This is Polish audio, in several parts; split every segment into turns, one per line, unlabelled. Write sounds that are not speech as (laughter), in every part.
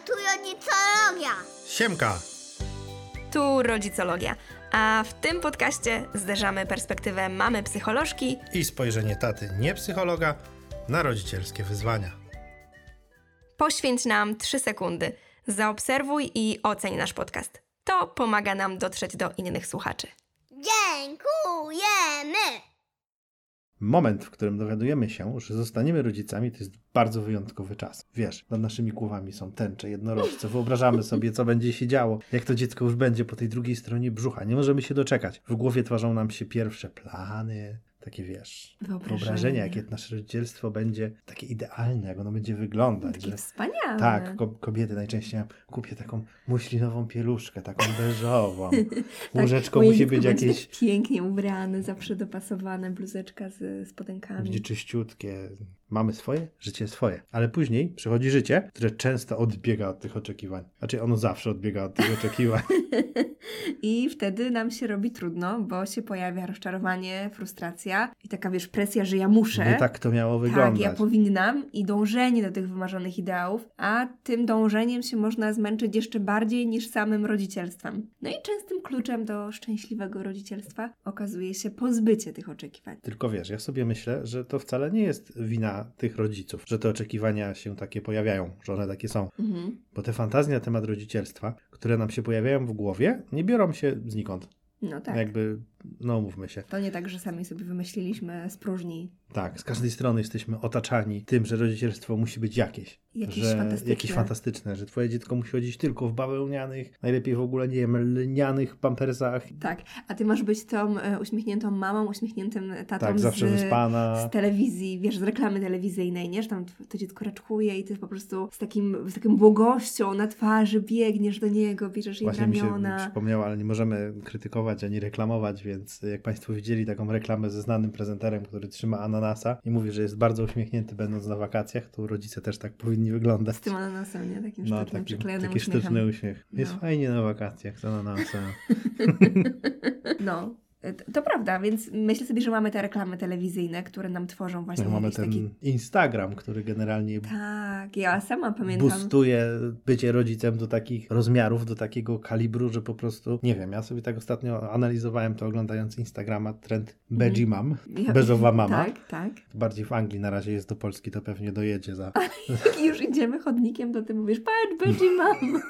tujonicologia.
Siemka.
Tu rodzicologia. A w tym podcaście zderzamy perspektywę mamy psycholożki.
I spojrzenie taty nie psychologa na rodzicielskie wyzwania.
Poświęć nam 3 sekundy. Zaobserwuj i oceń nasz podcast. To pomaga nam dotrzeć do innych słuchaczy.
Dziękujemy.
Moment, w którym dowiadujemy się, że zostaniemy rodzicami, to jest bardzo wyjątkowy czas. Wiesz, nad naszymi głowami są tęcze, jednorożce. Wyobrażamy sobie, co będzie się działo, jak to dziecko już będzie po tej drugiej stronie brzucha. Nie możemy się doczekać. W głowie tworzą nam się pierwsze plany, takie wiesz,
Wyobrażenia.
wyobrażenia, jakie nasze rodzicielstwo będzie takie idealne, jak ono będzie wyglądać. że-
wspaniałe.
Tak, ko- kobiety najczęściej ja kupię taką muślinową pieluszkę, taką
(laughs)
beżową.
Tak,
Łóżeczko musi być jakieś
Pięknie ubrane, zawsze dopasowane, bluzeczka z spodenkami.
będzie czyściutkie. Mamy swoje, życie swoje. Ale później przychodzi życie, które często odbiega od tych oczekiwań. Znaczy ono zawsze odbiega od
(laughs)
tych oczekiwań.
(laughs) I wtedy nam się robi trudno, bo się pojawia rozczarowanie, frustracja i taka wiesz, presja, że ja muszę.
Nie tak to miało
Tak,
wyglądać.
ja powinnam i dążenie do tych wymarzonych ideałów, a tym dążeniem się można zmęczyć jeszcze bardziej niż samym rodzicielstwem. No i częstym kluczem do szczęśliwego rodzicielstwa okazuje się pozbycie tych oczekiwań.
Tylko wiesz, ja sobie myślę, że to wcale nie jest wina tych rodziców, że te oczekiwania się takie pojawiają, że one takie są.
Mhm.
Bo te fantazje na temat rodzicielstwa, które nam się pojawiają w głowie, nie biorą się znikąd.
No tak.
Jakby, no mówmy się.
To nie tak, że sami sobie wymyśliliśmy z próżni
Tak, z każdej strony jesteśmy otaczani tym, że rodzicielstwo musi być jakieś.
jakieś
że,
fantastyczne.
Jakieś fantastyczne, że twoje dziecko musi chodzić tylko w bawełnianych, najlepiej w ogóle, nie wiem, lnianych pampersach.
Tak, a ty masz być tą e, uśmiechniętą mamą, uśmiechniętym tatą
tak, zawsze
z,
wyspana.
z telewizji, wiesz, z reklamy telewizyjnej, nie? Że tam tw- to dziecko raczkuje i ty po prostu z, takim, z taką błogością na twarzy biegniesz do niego, bierzesz jej
Właśnie mi się
ramiona.
przypomniało, ale nie możemy krytykować ani reklamować, więc jak Państwo widzieli taką reklamę ze znanym prezenterem, który trzyma ananasa i mówi, że jest bardzo uśmiechnięty będąc na wakacjach, to rodzice też tak powinni wyglądać.
Z tym ananasem, nie? Takim
No,
sztucznym,
taki,
przyklejonym
taki
uśmiechem.
sztuczny uśmiech. Jest
No.
fajnie na wakacjach z ananasem.
No, e, t- to prawda, więc myślę sobie, że mamy te reklamy telewizyjne, które nam tworzą właśnie
No, mamy
jakiś
ten
taki...
Instagram, który generalnie
Tak, ja sama pamiętam.
boostuje bycie rodzicem do takich rozmiarów, do takiego kalibru, że po prostu, nie wiem, ja sobie tak ostatnio analizowałem to oglądając Instagrama, trend Beji Mam,
Mhm. Ja-
beżowa mama.
Tak, tak.
Bardziej w Anglii na razie jest do Polski, to pewnie dojedzie za...
Jak już idziemy chodnikiem, to ty mówisz, patrz, będzie
(laughs)
mam.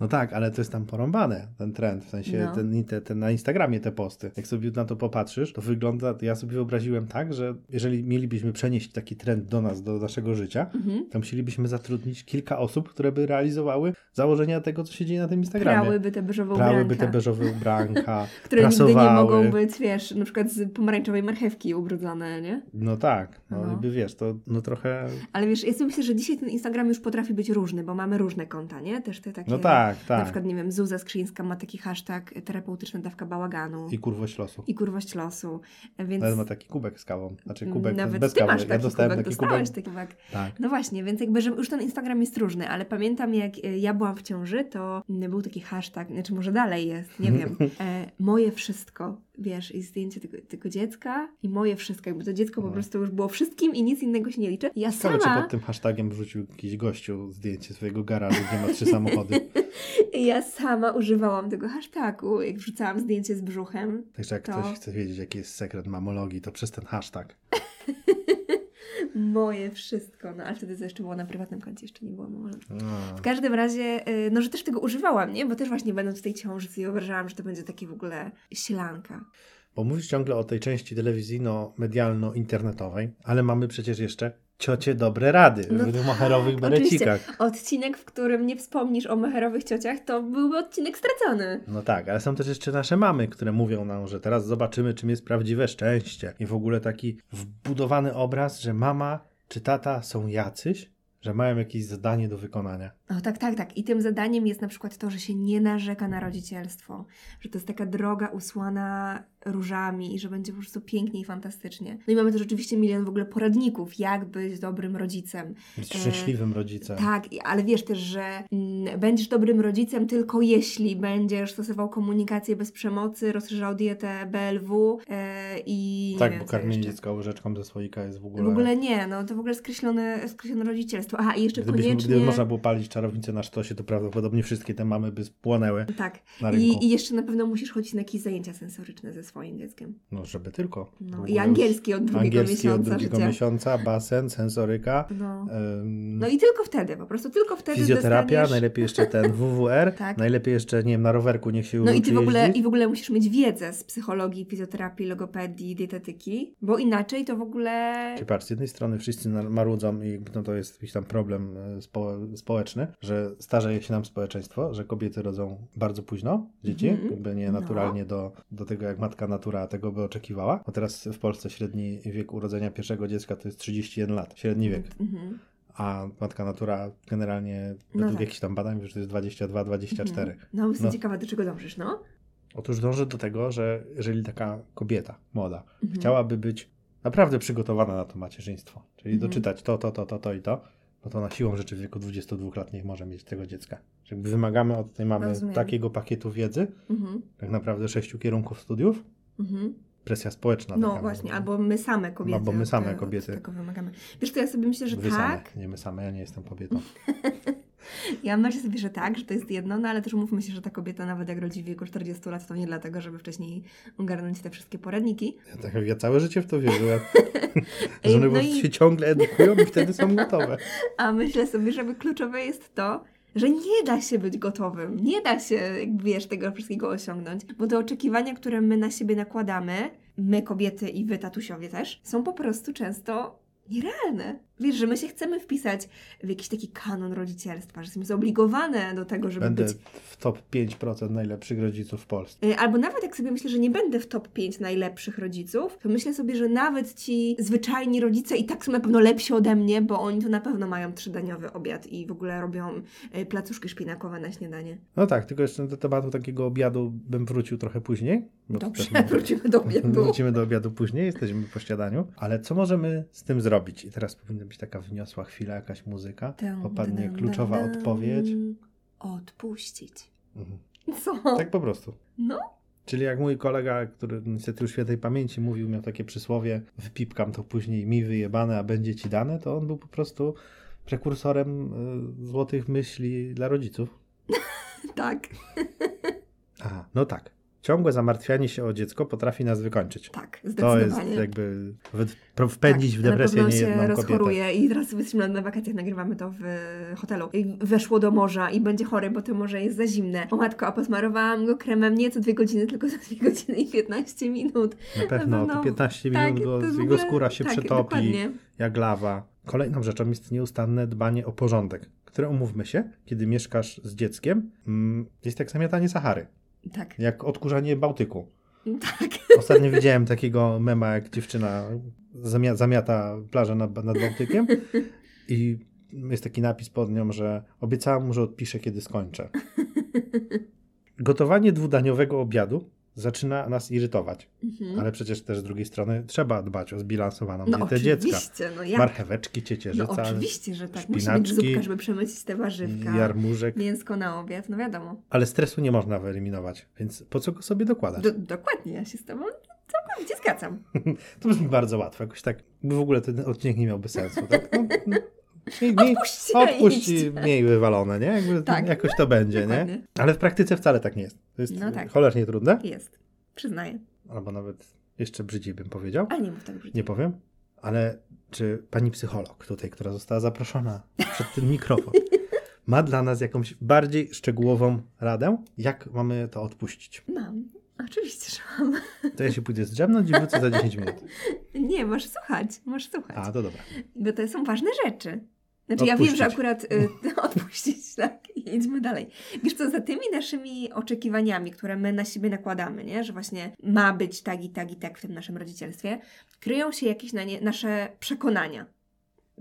No tak, ale to jest tam porąbane, ten trend, w sensie
No.
ten, te, te, na Instagramie te posty. Jak sobie na to popatrzysz, to wygląda, ja sobie wyobraziłem tak, że jeżeli mielibyśmy przenieść taki trend do nas, do naszego życia,
Mhm.
to musielibyśmy zatrudnić kilka osób, które by realizowały założenia tego, co się dzieje na tym Instagramie.
Prałyby te beżowe
Prałyby
ubranka,
te beżowe ubranka,
(laughs) które nigdy nie
prasowały.
mogą być, wiesz, na przykład z pomarańczowej marchewki ubrudzone, nie?
No tak, no,
No.
jakby wiesz, to no trochę,
Ale wiesz, ja sobie myślę, że dzisiaj ten Instagram już potrafi być różny, bo mamy różne konta, nie? Też te takie...
no tak,
Na
tak.
przykład, nie wiem, Zuza Skrzyńska ma taki hashtag terapeutyczna dawka bałaganu
I
i,
kurwość losu.
kurwość losu, więc...
Nawet ma taki kubek z kawą, znaczy kubek
Mm, nawet
bez
ty
kawy.
masz taki
ja dostałem
kubek,
taki kubek.
dostałeś taki kubek.
Tak.
No właśnie, więc jakby, że już ten Instagram jest różny, ale pamiętam jak e, ja byłam w ciąży, to mm, był taki hashtag, znaczy może dalej jest, nie wiem, e, moje wszystko, wiesz, i zdjęcie tego, tego dziecka i moje wszystko, jakby to dziecko po
No.
prostu już było wszystkim i nic innego się nie liczy. Ja
Ciekawe, czy
sama,
pod tym hashtagiem wrzucił jakiś gościu zdjęcie swojego garażu, gdzie ma trzy
(laughs)
samochody.
ja sama używałam tego hashtagu, jak wrzucałam zdjęcie z brzuchem,
Także jak
To.
ktoś chce wiedzieć, jaki jest sekret mamologii, to przez ten hashtag.
moje wszystko, no ale wtedy to jeszcze było na prywatnym koncie, jeszcze nie było może.
No.
W każdym razie, y, no że też tego używałam, nie? Bo też właśnie będąc w tej ciąży sobie wyobrażałam, że to będzie takie w ogóle sielanka.
Bo mówisz ciągle o tej części telewizyjno-medialno-internetowej, ale mamy przecież jeszcze ciocie dobre rady
No
w moherowych
tak, oczywiście.
berecikach.
Odcinek, w którym nie wspomnisz o meherowych ciociach, to byłby odcinek stracony.
No tak, ale są też jeszcze nasze mamy, które mówią nam, że teraz zobaczymy, czym jest prawdziwe szczęście. I w ogóle taki wbudowany obraz, że mama czy tata są jacyś, że mają jakieś zadanie do wykonania.
O tak, tak, tak. I tym zadaniem jest na przykład to, że się nie narzeka na rodzicielstwo, że to jest taka droga usłana różami i że będzie po prostu pięknie i fantastycznie. No i mamy też oczywiście milion w ogóle poradników, jak być dobrym rodzicem.
Być
E,
szczęśliwym rodzicem.
Tak, i- ale wiesz też, że mm, będziesz dobrym rodzicem tylko jeśli będziesz stosował komunikację bez przemocy, rozszerzał dietę BLW e, i. nie
Tak,
wiem,
bo
co
karmienie
jeszcze.
dziecka łyżeczką ze słoika jest w ogóle...
W ogóle nie, no to w ogóle skreślone, skreślone rodzicielstwo. aha, i jeszcze
Gdybyśmy,
koniecznie...
Gdyby można było palić czarownicę na sztosie, to prawdopodobnie wszystkie te mamy by spłonęły
Tak.
na rynku.
I, I jeszcze na pewno musisz chodzić na jakieś zajęcia sensoryczne ze swoim dzieckiem.
No, żeby tylko.
No.
Było
I
już
angielski od drugiego
angielski
miesiąca
od drugiego
życia.
miesiąca, basen, sensoryka,
No.
em,
no i tylko wtedy, po prostu tylko wtedy
fizjoterapia,
dostaniesz...
najlepiej jeszcze
(laughs)
ten WWR,
Tak.
najlepiej jeszcze, nie wiem, na rowerku niech się
No i
uczy
ty w ogóle,
jeździć.
i w ogóle musisz mieć wiedzę z psychologii, fizjoterapii, logopedii, dietetyki, bo inaczej to w ogóle...
Czyli patrz, z jednej strony wszyscy nar- marudzą i jakby no to jest jakiś tam problem e, spo- społeczny, że starzeje się nam społeczeństwo, że kobiety rodzą bardzo późno dzieci,
Mhm.
jakby nie
No.
naturalnie do, do tego, jak matka natura tego by oczekiwała. A teraz w Polsce średni wiek urodzenia pierwszego dziecka to jest 31 lat, średni wiek,
Mhm.
a matka natura generalnie
No
według
tak.
jakichś tam badań że to jest 22-24.
Mhm. No, jestem
No.
ciekawa, do czego dążysz, no.
Otóż dążę do tego, że jeżeli taka kobieta młoda
Mhm.
chciałaby być naprawdę przygotowana na to macierzyństwo, czyli
Mhm.
doczytać to, to, to, to, to i to, no to na siłą rzeczy w wieku 22 lat nie może mieć tego dziecka. Że Jakby wymagamy od tej mamy
Rozumiem.
takiego pakietu wiedzy,
Mhm.
tak naprawdę sześciu kierunków studiów,
Mhm.
presja społeczna.
No
taka,
właśnie, albo my same kobiety.
Albo No, my
od
same
te- od
kobiety.
Tego wymagamy. Wiesz, to ja sobie myślę, że
Wy
tak.
same, nie my same, ja nie jestem kobietą.
Ja myślę sobie, że tak, że to jest jedno, no ale też mówmy się, że ta kobieta nawet jak rodzi w wieku 40 lat, to nie dlatego, żeby wcześniej ogarnąć te wszystkie poradniki.
Ja, tak, ja całe życie w to
(laughs)
wierzyłem,
Ej,
że one
no
no
i-
się ciągle edukują i wtedy są gotowe.
A myślę sobie, że kluczowe jest to, że nie da się być gotowym, nie da się, jak wiesz, tego wszystkiego osiągnąć, bo te oczekiwania, które my na siebie nakładamy, my kobiety i wy tatusiowie też, są po prostu często nierealne. Wiesz, że my się chcemy wpisać w jakiś taki kanon rodzicielstwa, że jesteśmy zobligowane do tego, (laughs) żeby
Będę
być
w top 5% najlepszych rodziców w Polsce.
Y, Albo nawet jak sobie myślę, że nie będę w top 5 najlepszych rodziców, to myślę sobie, że nawet ci zwyczajni rodzice i tak są na pewno lepsi ode mnie, bo oni to na pewno mają trzydaniowy obiad i w ogóle robią y, placuszki szpinakowe na śniadanie.
No tak, tylko jeszcze do tematu takiego obiadu bym wrócił trochę później. bo to też
Dobrze,
mam-
(laughs) wrócimy do obiadu.
(laughs) Wrócimy do obiadu później, jesteśmy po śniadaniu. Ale co możemy z tym zrobić? I teraz powinna być taka wyniosła chwila, jakaś muzyka.
Dun,
Popadnie
dun,
kluczowa
dun, dun.
odpowiedź.
Odpuścić.
Mhm.
Co?
Tak po prostu.
No.
Czyli jak mój kolega, który niestety już świętej pamięci mówił, miał takie przysłowie wypipkam to później mi wyjebane, a będzie ci dane, to on był po prostu prekursorem y, złotych myśli dla rodziców.
Tak,
Aha, no tak. Ciągłe zamartwianie się o dziecko potrafi nas wykończyć.
tak,
To jest
zdecydowanie.
jakby wy- pro- wpędzić
Tak,
w depresję
na pewno
niejedną
się
kobietę.
rozchoruje i teraz jesteśmy na wakacjach, nagrywamy to w e, hotelu. I weszło do morza i będzie chory, bo to morze jest za zimne. O matko, a posmarowałam go kremem nie co dwie godziny, tylko za dwie godziny i 15 minut.
Na pewno,
pewno. Tak,
to 15 minut,
to
go,
jest w
jego
ogóle-
skóra się
tak,
przetopi
dokładnie.
jak lawa. Kolejną rzeczą jest nieustanne dbanie o porządek, które umówmy się, kiedy mieszkasz z dzieckiem, mm, jest jak zamiatanie Sahary,
Tak,
jak odkurzanie Bałtyku.
(laughs) tak.
Ostatnio widziałem takiego mema, jak dziewczyna zamia- zamiata plażę nad, nad Bałtykiem i jest taki napis pod nią, że obiecałam mu, że odpiszę, kiedy
(laughs)
skończę. Gotowanie dwudaniowego obiadu zaczyna nas irytować.
Mhm.
Ale przecież też z drugiej strony trzeba dbać o zbilansowaną
No
dietę dziecka.
oczywiście, no jak?
Marcheweczki,
No
ciecierzyca,
oczywiście, że tak. Musi być
szpinaczki,
zupka, żeby przemycić te warzywka.
jarmużek.
Mięsko na obiad, no wiadomo.
Ale stresu nie można wyeliminować, więc po co go sobie dokładać?
Do, dokładnie, ja się z tobą całkowicie zgadzam.
To brzmi bardzo łatwo, jakoś tak w ogóle ten odcinek nie miałby sensu. Tak? No, no, mniej, mniej,
Puśćcie
odpuść
idźcie.
i mniej wywalone, nie? Jakby,
Tak.
Jakoś to będzie, nie?
Dokładnie.
Ale w praktyce wcale tak nie jest. To jest
No tak.
cholernie trudne,
Jest, przyznaję.
albo nawet jeszcze brzydziej bym powiedział.
Ale nie mów tak brzydko.
Nie powiem, ale czy pani psycholog tutaj, która została zaproszona przed ten
(laughs)
mikrofon, ma dla nas jakąś bardziej szczegółową radę, jak mamy to odpuścić?
Mam. Oczywiście, że mam.
To ja się pójdę zdrzemnąć i wrócę za 10 minut.
Nie, masz słuchać, masz słuchać.
A, to dobra.
Bo to są ważne rzeczy. Znaczy, ja wiem,
Odpuścić.
że akurat y, (laughs) odpuścić, tak, i idźmy dalej. Wiesz co, za tymi naszymi oczekiwaniami, które my na siebie nakładamy, nie? że właśnie ma być tak i tak i tak w tym naszym rodzicielstwie, kryją się jakieś na nie, nasze przekonania.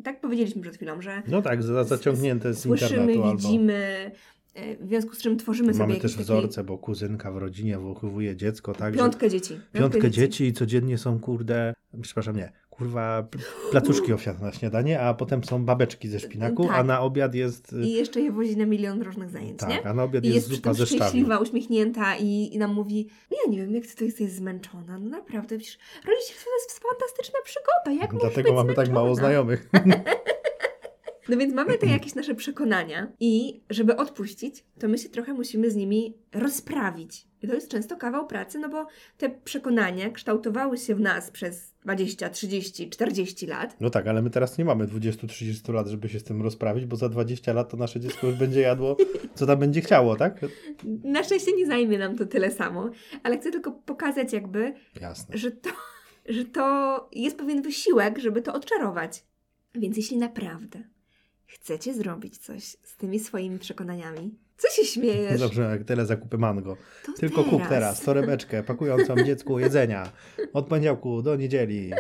Tak powiedzieliśmy przed chwilą, że
No tak, za, zaciągnięte z
słyszymy,
internetu albo...
widzimy, y, w związku z czym tworzymy sobie
Mamy
jakieś
też
takie
wzorce, bo kuzynka w rodzinie wychowuje dziecko, tak? że-
piątkę dzieci. Piątkę,
piątkę dzieci i codziennie są, kurde, przepraszam, nie, kurwa, p-
(laughs)
placuszki owsiane na śniadanie, a potem są babeczki ze szpinaku, a
Tak.
na obiad jest... y,
I jeszcze je wozi na milion różnych zajęć, nie?
Tak, a na obiad
I
jest,
jest przy
zupa
tym
ze szczawiu.
szczęśliwa, uśmiechnięta i, i nam mówi, ja nie wiem, jak ty to jesteś zmęczona, no naprawdę, wiesz, rodzicielstwo to jest fantastyczna przygoda, jak możesz
No Dlatego tak
być
mamy
zmęczona?
tak mało znajomych.
No więc
(clears throat)
mamy te jakieś nasze przekonania i żeby odpuścić, to my się trochę musimy z nimi rozprawić. I to jest często kawał pracy, no bo te przekonania kształtowały się w nas przez 20, 30, 40 lat.
No tak, ale my teraz nie mamy 20-30 lat, żeby się z tym rozprawić, bo za 20 lat to nasze dziecko już będzie
(laughs)
jadło, co tam będzie chciało, tak?
Na szczęście nie zajmie nam to tyle samo, ale chcę tylko pokazać jakby,
Jasne.
że to, (laughs) że to jest pewien wysiłek, żeby to odczarować. Więc jeśli naprawdę chcecie zrobić coś z tymi swoimi przekonaniami, co się śmiejesz?
Dobrze, jak tyle zakupy mango.
To
Tylko kup teraz torebeczkę
(laughs)
pakującą dziecku jedzenia. Od poniedziałku do niedzieli.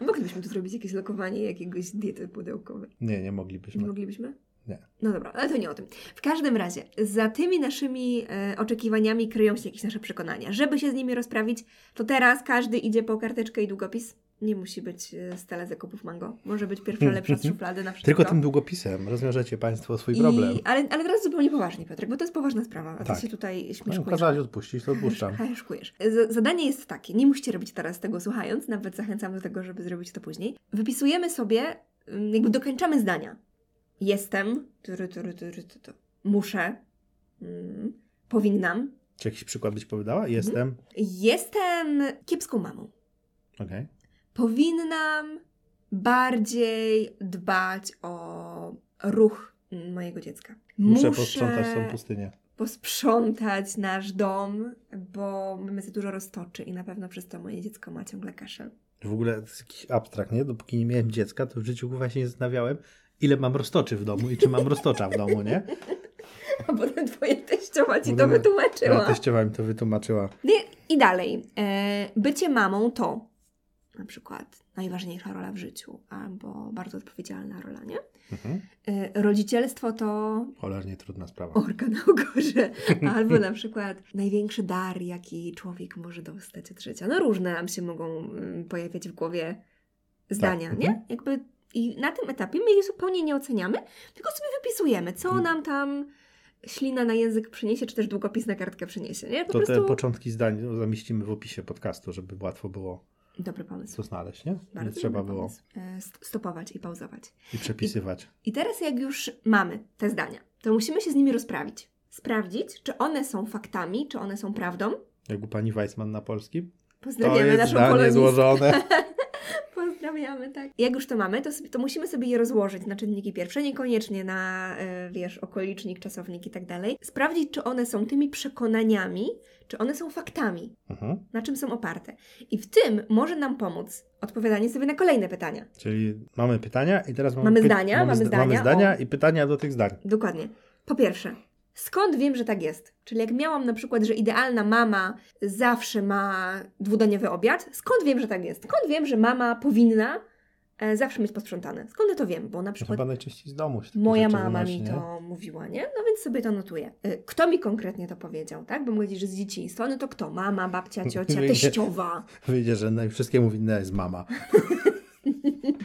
Moglibyśmy tu zrobić jakieś lokowanie jakiegoś diety pudełkowej.
Nie, nie
Nie
moglibyśmy.
moglibyśmy?
Nie.
No dobra, ale to nie o tym. W każdym razie, za tymi naszymi e, oczekiwaniami kryją się jakieś nasze przekonania. Żeby się z nimi rozprawić, to teraz każdy idzie po karteczkę i długopis. Nie musi być e, stale zakupów mango. Może być
(laughs)
pierwsza lepsza z szuflady na wszystko.
Tylko tym długopisem rozwiążecie Państwo swój problem.
no. I, ale, ale teraz zupełnie poważnie, Piotrek, bo to jest poważna sprawa, a
Tak.
ty się tutaj
No,
śmieszkujesz.
kazałaś odpuścić, to odpuszczam.
Hajszkujesz. Z- Zadanie jest takie, nie musicie robić teraz tego słuchając, nawet zachęcam do tego, żeby zrobić to później. Wypisujemy sobie, mm, jakby dokończamy zdania. Jestem, tury, tury, tury, tu, tu. muszę, mm, powinnam,
Czy jakiś przykład byś powiedziała?
Mhm.
Jestem.
jestem kiepską mamą.
Okej.
Powinnam bardziej dbać o ruch mm, mojego dziecka.
Muszę posprzątać tą pustynię.
posprzątać nasz dom, bo mamy za dużo roztoczy i na pewno przez to moje dziecko ma ciągle kaszel. (laughs)
W ogóle to jest jakiś abstrakt, nie? Dopóki nie miałem dziecka, to w życiu kurwa się nie zastanawiałem, ile mam roztoczy w domu i czy mam roztocza w domu,
(laughs)
nie?
A potem twoja teściowa ci to
Potem-
wytłumaczyła.
Ale teściowa mi to wytłumaczyła.
No i- I dalej. E, bycie mamą to na przykład najważniejsza rola w życiu albo bardzo odpowiedzialna rola, nie?
Mhm.
E, rodzicielstwo to
Cholernie trudna sprawa.
orka na ogorze albo na przykład największy dar, jaki człowiek może dostać od życia. No różne nam się mogą mm, pojawiać w głowie zdania,
Tak,
nie? Jakby i na tym etapie my ich zupełnie nie oceniamy, tylko sobie wypisujemy, co
Mhm.
nam tam ślina na język przyniesie, czy też długopis na kartkę przyniesie, nie? Po
To te
prostu...
początki zdań zamieścimy w opisie podcastu, żeby łatwo było
Dobry pomysł.
co znaleźć, nie? Nie
Bardzo
trzeba
dobry
było
pomysł. E, st- Stopować i pauzować.
i przepisywać.
I teraz jak już mamy te zdania, to musimy się z nimi rozprawić. Sprawdzić, czy one są faktami, czy one są prawdą.
Jak u pani Weissman na polskim. To
Pozdrawiamy
jest
naszą
zdanie
polonistkę. (laughs)
złożone.
Pozdrawiamy, tak. Jak już to mamy, to, sobie, to musimy sobie je rozłożyć na czynniki pierwsze, niekoniecznie na, e, wiesz, okolicznik, czasownik i tak dalej. Sprawdzić, czy one są tymi przekonaniami, czy one są faktami,
Mhm.
na czym są oparte. I w tym może nam pomóc odpowiadanie sobie na kolejne pytania.
Czyli mamy pytania i teraz mamy...
Mamy
py-
zdania, mamy
zda-
zdania,
Mamy zdania i pytania do tych zdań.
Dokładnie. Po pierwsze, skąd wiem, że tak jest? Czyli jak miałam na przykład, że idealna mama zawsze ma dwudaniowy obiad, skąd wiem, że tak jest? Skąd wiem, że mama powinna e, zawsze mieć posprzątane? Skąd ja to wiem? Bo na przykład
No Chyba najczęściej z domu. się takie
Moja
rzeczy
mama
wynosi,
mi
nie?
to mówiła, nie? No więc sobie to notuję. Y, Kto mi konkretnie to powiedział, tak? Bo mówię, że z dzieciństwa, no to kto? Mama,
(laughs)
babcia, ciocia,
Wyjdzie.
teściowa.
Wyjdzie, że naj- wszystkiemu winna jest mama.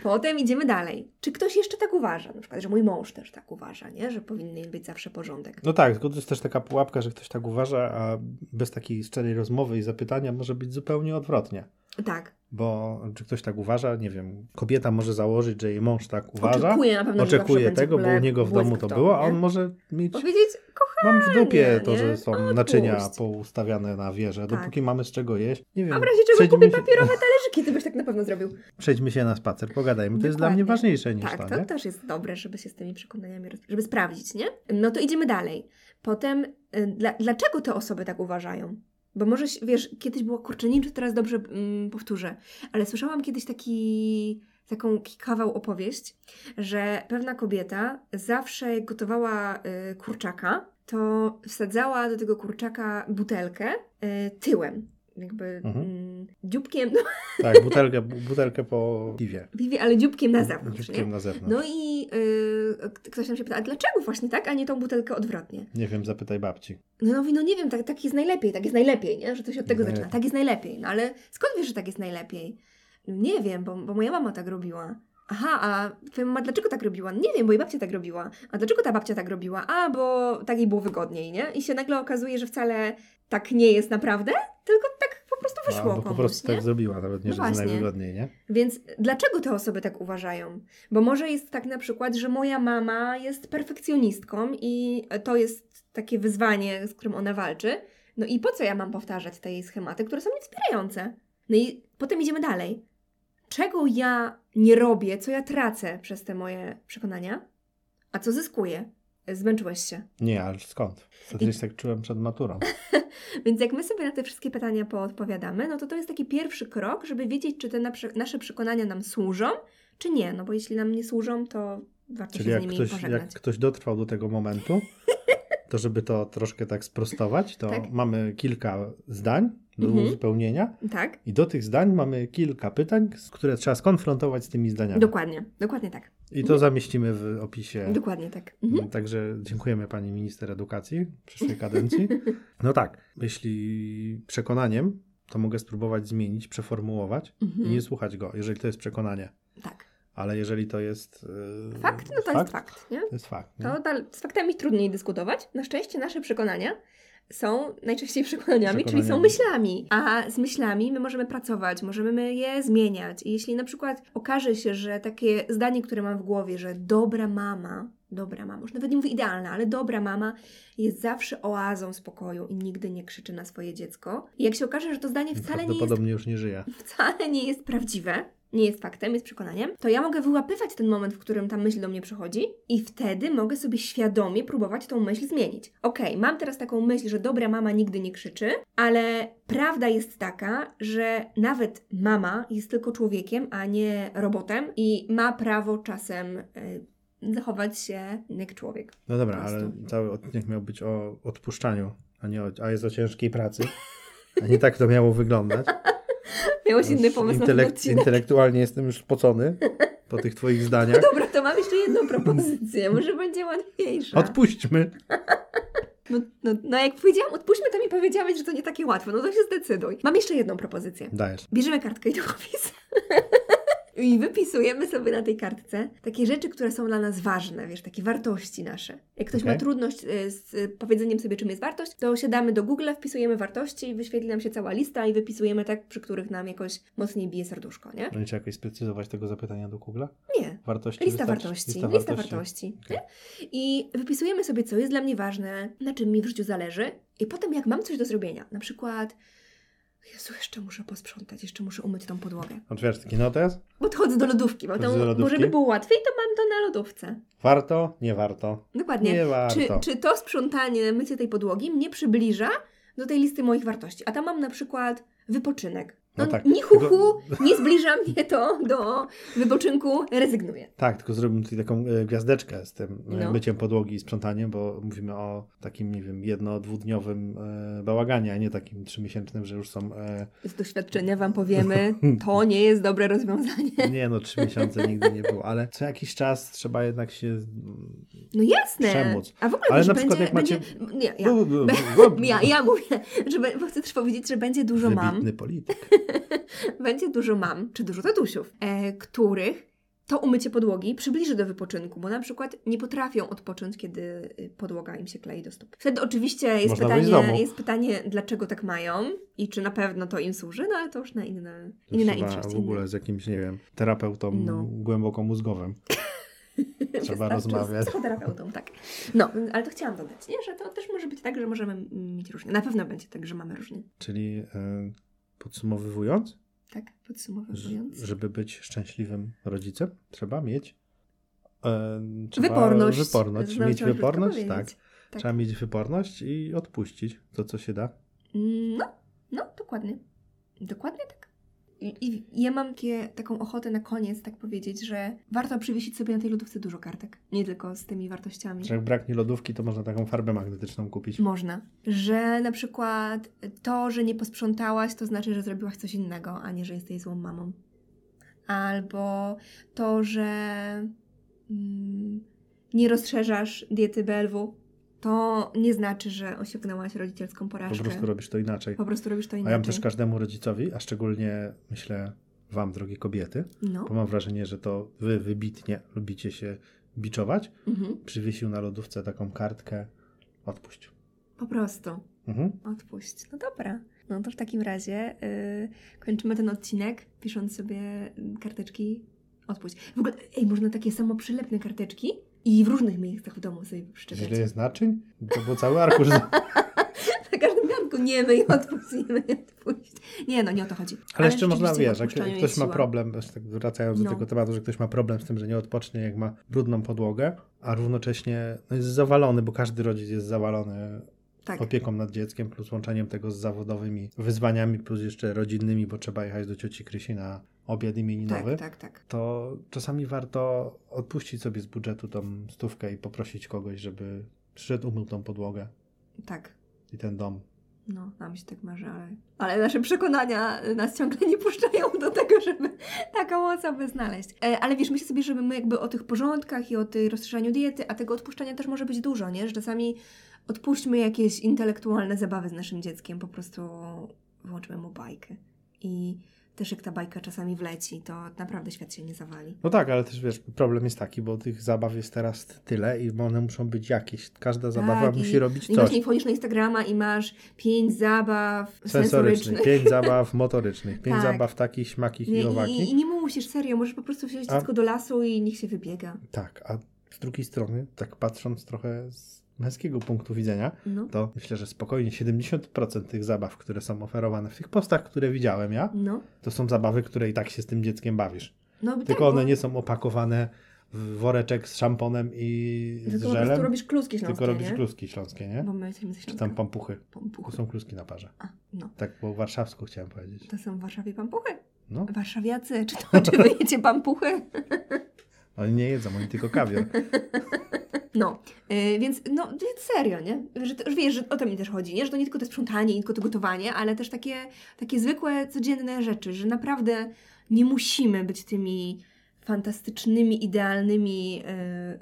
Potem idziemy dalej. Czy ktoś jeszcze tak uważa? Na przykład, że mój mąż też tak uważa, nie? Że powinien być zawsze porządek.
No tak, tylko to jest też taka pułapka, że ktoś tak uważa, a bez takiej szczerej rozmowy i zapytania może być zupełnie odwrotnie.
Tak.
Bo czy ktoś tak uważa, nie wiem, kobieta może założyć, że jej mąż tak uważa,
Oczekuje na pewno, że zawsze
oczekuje
będzie
tego,
w
bo
ogóle
u niego w
błysk
domu to
w
było, a
domu,
on
nie?
może mieć,
Powiedzieć, kochanie,
mam w dupie
nie,
to, że są
odpuść.
naczynia poustawiane na wieżę,
Tak.
dopóki mamy z czego jeść, nie wiem,
a w razie czego
przejdźmy
kupię
się,
papierowe talerzyki, ty byś tak na pewno zrobił.
przejdźmy się na spacer, pogadajmy, to jest dla mnie
Dokładnie.
ważniejsze niż
Tak,
to,
to
nie?
też jest dobre, żeby się z tymi przekonaniami, roz- żeby sprawdzić, nie? No to idziemy dalej. Potem, y, dla, dlaczego te osoby tak uważają? Bo może, ś- wiesz, kiedyś było kurczeniczy, teraz dobrze mm, powtórzę, ale słyszałam kiedyś taki, taką ki- kawał opowieść, że pewna kobieta zawsze jak gotowała y, kurczaka, to wsadzała do tego kurczaka butelkę y, tyłem, jakby
Mhm.
mm, dzióbkiem, (laughs)
Tak, butelkę, bu- butelkę po piwie,
no, ale dzióbkiem na zewnątrz, nie?
dzióbkiem na zewnątrz.
No i y, k- ktoś nam się pyta, a dlaczego właśnie tak, a nie tą butelkę odwrotnie?
Nie wiem, zapytaj babci.
No ja mówię, no nie wiem, tak, tak jest najlepiej, tak jest najlepiej, nie? Że to się od tego
Najlepiej.
zaczyna. Tak jest najlepiej, no ale skąd wiesz, że tak jest najlepiej? No Nie wiem, bo, bo moja mama tak robiła. Aha, a twoja mama dlaczego tak robiła? Nie wiem, bo jej babcia tak robiła. A dlaczego ta babcia tak robiła? A, bo tak jej było wygodniej, nie? I się nagle okazuje, że wcale tak nie jest naprawdę, tylko tak po prostu wyszło
Albo po
komuś,
prostu
nie?
tak zrobiła, nawet nie,
No
że jest
właśnie.
najwygodniej, nie?
Więc dlaczego te osoby tak uważają? Bo może jest tak na przykład, że moja mama jest perfekcjonistką i to jest takie wyzwanie, z którym ona walczy. No i po co ja mam powtarzać te jej schematy, które są niewspierające? No i potem idziemy dalej. Czego ja nie robię, co ja tracę przez te moje przekonania, a co zyskuję? Zmęczyłeś się.
Nie, ale skąd? To gdzieś tak czułem przed
(laughs)
maturą.
Więc jak my sobie na te wszystkie pytania poodpowiadamy, no to to jest taki pierwszy krok, żeby wiedzieć, czy te naprze- nasze przekonania nam służą, czy nie. No bo jeśli nam nie służą, to warto
Czyli
się
jak
z nimi
ktoś,
pożegnać.
jak ktoś dotrwał do tego momentu, to żeby to troszkę tak sprostować, to
Tak.
mamy kilka zdań do
Mhm.
uzupełnienia
Tak?
i do tych zdań mamy kilka pytań, z- które trzeba skonfrontować z tymi zdaniami.
Dokładnie, dokładnie tak.
I to zamieścimy w opisie. Mm,
Dokładnie tak. Mhm.
Także dziękujemy pani minister edukacji przyszłej
(laughs)
kadencji. No tak, jeśli przekonaniem, to mogę spróbować zmienić, przeformułować i
Mhm.
nie słuchać go, jeżeli to jest przekonanie.
Tak.
Ale jeżeli to jest. yy,
Fakt? No to jest fakt, nie?
To jest fakt. Nie?
To dal- z faktami trudniej dyskutować. Na szczęście nasze przekonania są najczęściej przekonaniami, czyli są
Przekonaniami.
myślami. A z myślami my możemy pracować, możemy je zmieniać. I jeśli na przykład okaże się, że takie zdanie, które mam w głowie, że dobra mama, dobra mama, już nawet nie mówię idealna, ale dobra mama jest zawsze oazą spokoju i nigdy nie krzyczy na swoje dziecko. I jak się okaże, że to zdanie wcale nie jest
Prawdopodobnie już nie żyje.
wcale nie jest prawdziwe, nie jest faktem, jest przekonaniem, to ja mogę wyłapywać ten moment, w którym ta myśl do mnie przychodzi i wtedy mogę sobie świadomie próbować tą myśl zmienić. Okej, mam teraz taką myśl, że dobra mama nigdy nie krzyczy, ale prawda jest taka, że nawet mama jest tylko człowiekiem, a nie robotem i ma prawo czasem y, zachować się jak człowiek.
No dobra,
Po
ale
prostu.
cały odcinek miał być o odpuszczaniu, a nie o, a jest o ciężkiej pracy. A nie tak to miało
(laughs)
wyglądać.
Miałeś inny
Już
pomysł na ten
intelekt,
odcinek.
Intelektualnie jestem już spocony po tych twoich zdaniach.
Dobra, to mam jeszcze jedną propozycję, może będzie łatwiejsza.
Odpuśćmy.
No, no, no jak powiedziałam, odpuśćmy, to mi powiedziałeś, że to nie takie łatwe. No to się zdecyduj. Mam jeszcze jedną propozycję.
Dajesz.
Bierzemy kartkę i długopis. (laughs) I wypisujemy sobie na tej kartce takie rzeczy, które są dla nas ważne, wiesz, takie wartości nasze. Jak ktoś ma
Okej.
trudność y, z y, powiedzeniem sobie, czym jest wartość, to siadamy do Google, wpisujemy wartości, wyświetli nam się cała lista i wypisujemy tak, przy których nam jakoś mocniej bije serduszko, nie?
Będziecie jakoś sprecyzować tego zapytania do Google?
Nie.
Wartości
Lista
wystarczy?
wartości. Lista wartości. nie? I wypisujemy sobie, co jest dla mnie ważne, na czym mi w życiu zależy, i potem, jak mam coś do zrobienia, na przykład. Jezu, jeszcze muszę posprzątać, jeszcze muszę umyć tą podłogę.
Otwierasz taki notes?
Podchodzę do lodówki, bo,
Podchodzę
to,
do lodówki?
bo żeby było łatwiej, to mam to na lodówce.
Warto? Nie warto.
Dokładnie.
Nie, warto.
Czy, czy to sprzątanie, mycie tej podłogi mnie przybliża do tej listy moich wartości? A tam mam na przykład wypoczynek.
No
No,
tak.
Ni hu, hu, nie zbliża mnie to do wypoczynku, rezygnuję.
Tak, tylko zrobimy tutaj taką e, gwiazdeczkę z tym e,
No.
myciem podłogi i sprzątaniem, bo mówimy o takim, nie wiem, jedno-dwudniowym e, bałaganie, a nie takim trzymiesięcznym, że już są...
(laughs)
E,
Z doświadczenia Wam powiemy, to nie jest dobre rozwiązanie.
nie no, trzy miesiące nigdy nie było, ale co jakiś czas trzeba jednak się... mm,
No jasne.
Przemoc.
A w ogóle
Ale
też
na przykład
będzie,
jak macie-
będzie... Nie, ja.
bu- bu- bu- bu-
(laughs) Ja, ja mówię, że be- bo chcę też powiedzieć, że będzie dużo mam,
Wybitny polityk.
(laughs) będzie dużo mam, czy dużo tatusiów, e, których to umycie podłogi przybliży do wypoczynku, bo na przykład nie potrafią odpocząć, kiedy y, podłoga im się klei do stóp. Wtedy oczywiście jest
Można wyjść z domu.
pytanie, jest pytanie, dlaczego tak mają i czy na pewno to im służy, no ale to już na inne,
To
inna
trzeba
inszość.
w ogóle z jakimś, nie wiem, terapeutą
No.
głęboko mózgowym.
inny.
trzeba
Wystarczy
rozmawiać.
Z psychoterapeutą, tak. No, ale to chciałam dodać, nie? że to też może być tak, że możemy mieć różnie. Na pewno będzie tak, że mamy różnie.
Czyli e, podsumowywując,
Tak,
ż-
podsumowując.
żeby być szczęśliwym rodzicem, trzeba mieć e, trzeba
Wyporność.
wyporność.
Znam,
mieć
trzeba krótko
wyporność,
powiedzieć.
tak.
Tak.
Trzeba mieć wyporność i odpuścić to, co się da.
Mm, No, no, dokładnie. Dokładnie tak. I, i ja mam takie, taką ochotę na koniec tak powiedzieć, że warto przywiesić sobie na tej lodówce dużo kartek. Nie tylko z tymi wartościami.
Że jak braknie lodówki, to można taką farbę magnetyczną kupić.
Można. Że na przykład to, że nie posprzątałaś, to znaczy, że zrobiłaś coś innego, a nie, że jesteś złą mamą. Albo to, że mm, nie rozszerzasz diety BLW, to nie znaczy, że osiągnęłaś rodzicielską
Po
porażkę.
prostu robisz to inaczej.
Po prostu robisz to
A
inaczej.
ja bym też każdemu rodzicowi, a szczególnie myślę wam, drogie kobiety,
No.
bo mam wrażenie, że to wy wybitnie lubicie się biczować,
Mhm.
przywiesił na lodówce taką kartkę odpuść.
Po prostu.
Mhm.
Odpuść. No dobra. No to w takim razie y, kończymy ten odcinek, pisząc sobie karteczki odpuść. W ogóle, ej, można takie samo przylepne karteczki i w różnych miejscach w domu sobie przyczepiać.
Źle jest naczyń? To był cały
(laughs)
arkusz. za-
Na każdym garnku nie myj, odpuść, nie myj, (laughs) odpuść. Nie no, nie o to chodzi.
Ale jeszcze można,
rzeczywiście
wiesz,
w
jak
odpuszczaniu
ktoś
jest
ma
siła.
problem, też tak wracając do
No.
tego tematu, że ktoś ma problem z tym, że nie odpocznie, jak ma brudną podłogę, a równocześnie no jest zawalony, bo każdy rodzic jest zawalony
Tak,
opieką nad dzieckiem, plus łączeniem tego z zawodowymi wyzwaniami, plus jeszcze rodzinnymi, bo trzeba jechać do cioci Krysi na obiad
tak,
imieninowy,
tak, tak.
to czasami warto odpuścić sobie z budżetu tą stówkę i poprosić kogoś, żeby przyszedł, umył tą podłogę
Tak.
i ten dom.
No, nam się tak marzy, ale... ale nasze przekonania y, nas ciągle nie puszczają do tego, żeby taką osobę znaleźć. E, Ale wiesz, myślę sobie, że my jakby o tych porządkach i o tej rozszerzaniu diety, a tego odpuszczania też może być dużo, nie? Że czasami odpuśćmy jakieś intelektualne zabawy z naszym dzieckiem, po prostu włączmy mu bajkę. I też jak ta bajka czasami wleci, to naprawdę świat się nie zawali.
No tak, ale też wiesz, problem jest taki, bo tych zabaw jest teraz tyle i one muszą być jakieś. Każda zabawa
Tak, i-
musi robić
I masz
coś.
nie wchodzisz na Instagrama i masz pięć zabaw sensorycznych.
Sensorycznych, pięć
(laughs)
zabaw motorycznych, pięć
Tak.
zabaw takich, śmakich i
Nie,
owakich.
i, I nie musisz, serio, możesz po prostu wziąć
A-
dziecko do lasu i niech się wybiega.
Tak, a z drugiej strony, tak patrząc trochę z męskiego punktu widzenia,
No,
to myślę, że spokojnie 70% tych zabaw, które są oferowane w tych postach, które widziałem ja,
no.
to są zabawy, które i tak się z tym dzieckiem bawisz.
no tak,
Tylko
bo-
one nie są opakowane w woreczek z szamponem i z
Tylko po prostu
żelem,
robisz kluski śląskie,
tylko robisz
nie?
kluski śląskie, nie?
Bo my jesteśmy ze
Czy
Śląska.
tam pampuchy. To
Pampuchy.
są kluski na parze.
A, no.
Tak po warszawsku chciałem powiedzieć.
To są w Warszawie pampuchy.
No,
Warszawiacy, czy to, czy wy jecie pampuchy?
oni nie jedzą, oni tylko kawior. (laughs)
No, y, więc, no, więc serio, nie? Że, to, że wiesz, że o to mi też chodzi, nie? Że to nie tylko to sprzątanie, nie tylko to gotowanie, ale też takie, takie zwykłe, codzienne rzeczy, że naprawdę nie musimy być tymi fantastycznymi, idealnymi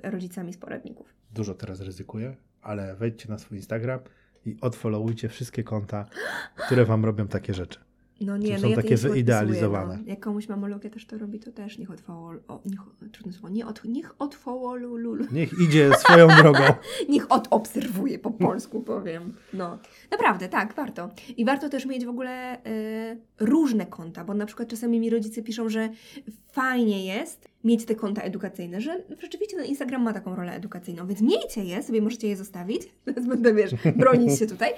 y, rodzicami z poradników.
Dużo teraz ryzykuję, ale wejdźcie na swój Instagram i odfollowujcie wszystkie konta, które wam robią takie rzeczy.
No nie,
Czyli
no
są
ja to
takie
nie podpisuję,
wyidealizowane.
No. Jak komuś mamologia też to robi, to też niech odwołol... O, niech, trudne słowo, nie od, niech odwołolulul.
Niech idzie swoją drogą.
Niech odobserwuje, po polsku powiem. No, naprawdę, tak, warto. I warto też mieć w ogóle y, różne konta, bo na przykład czasami mi rodzice piszą, że fajnie jest mieć te konta edukacyjne, że rzeczywiście ten Instagram ma taką rolę edukacyjną, więc miejcie je, sobie możecie je zostawić. (laughs) Teraz będę, wiesz, bronić się tutaj.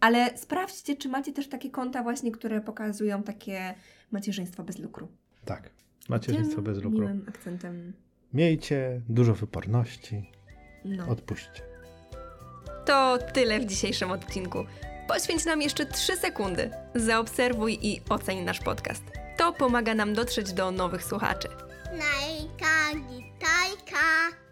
Ale sprawdźcie, czy macie też takie konta właśnie, które pokazują takie macierzyństwo bez lukru.
Tak, macierzyństwo
Tym
bez lukru.
Miłym akcentem.
Miejcie dużo wyporności,
No.
odpuśćcie.
To tyle w dzisiejszym odcinku. Poświęć nam jeszcze 3 sekundy. Zaobserwuj i oceń nasz podcast. To pomaga nam dotrzeć do nowych słuchaczy.
Najka, gitajka.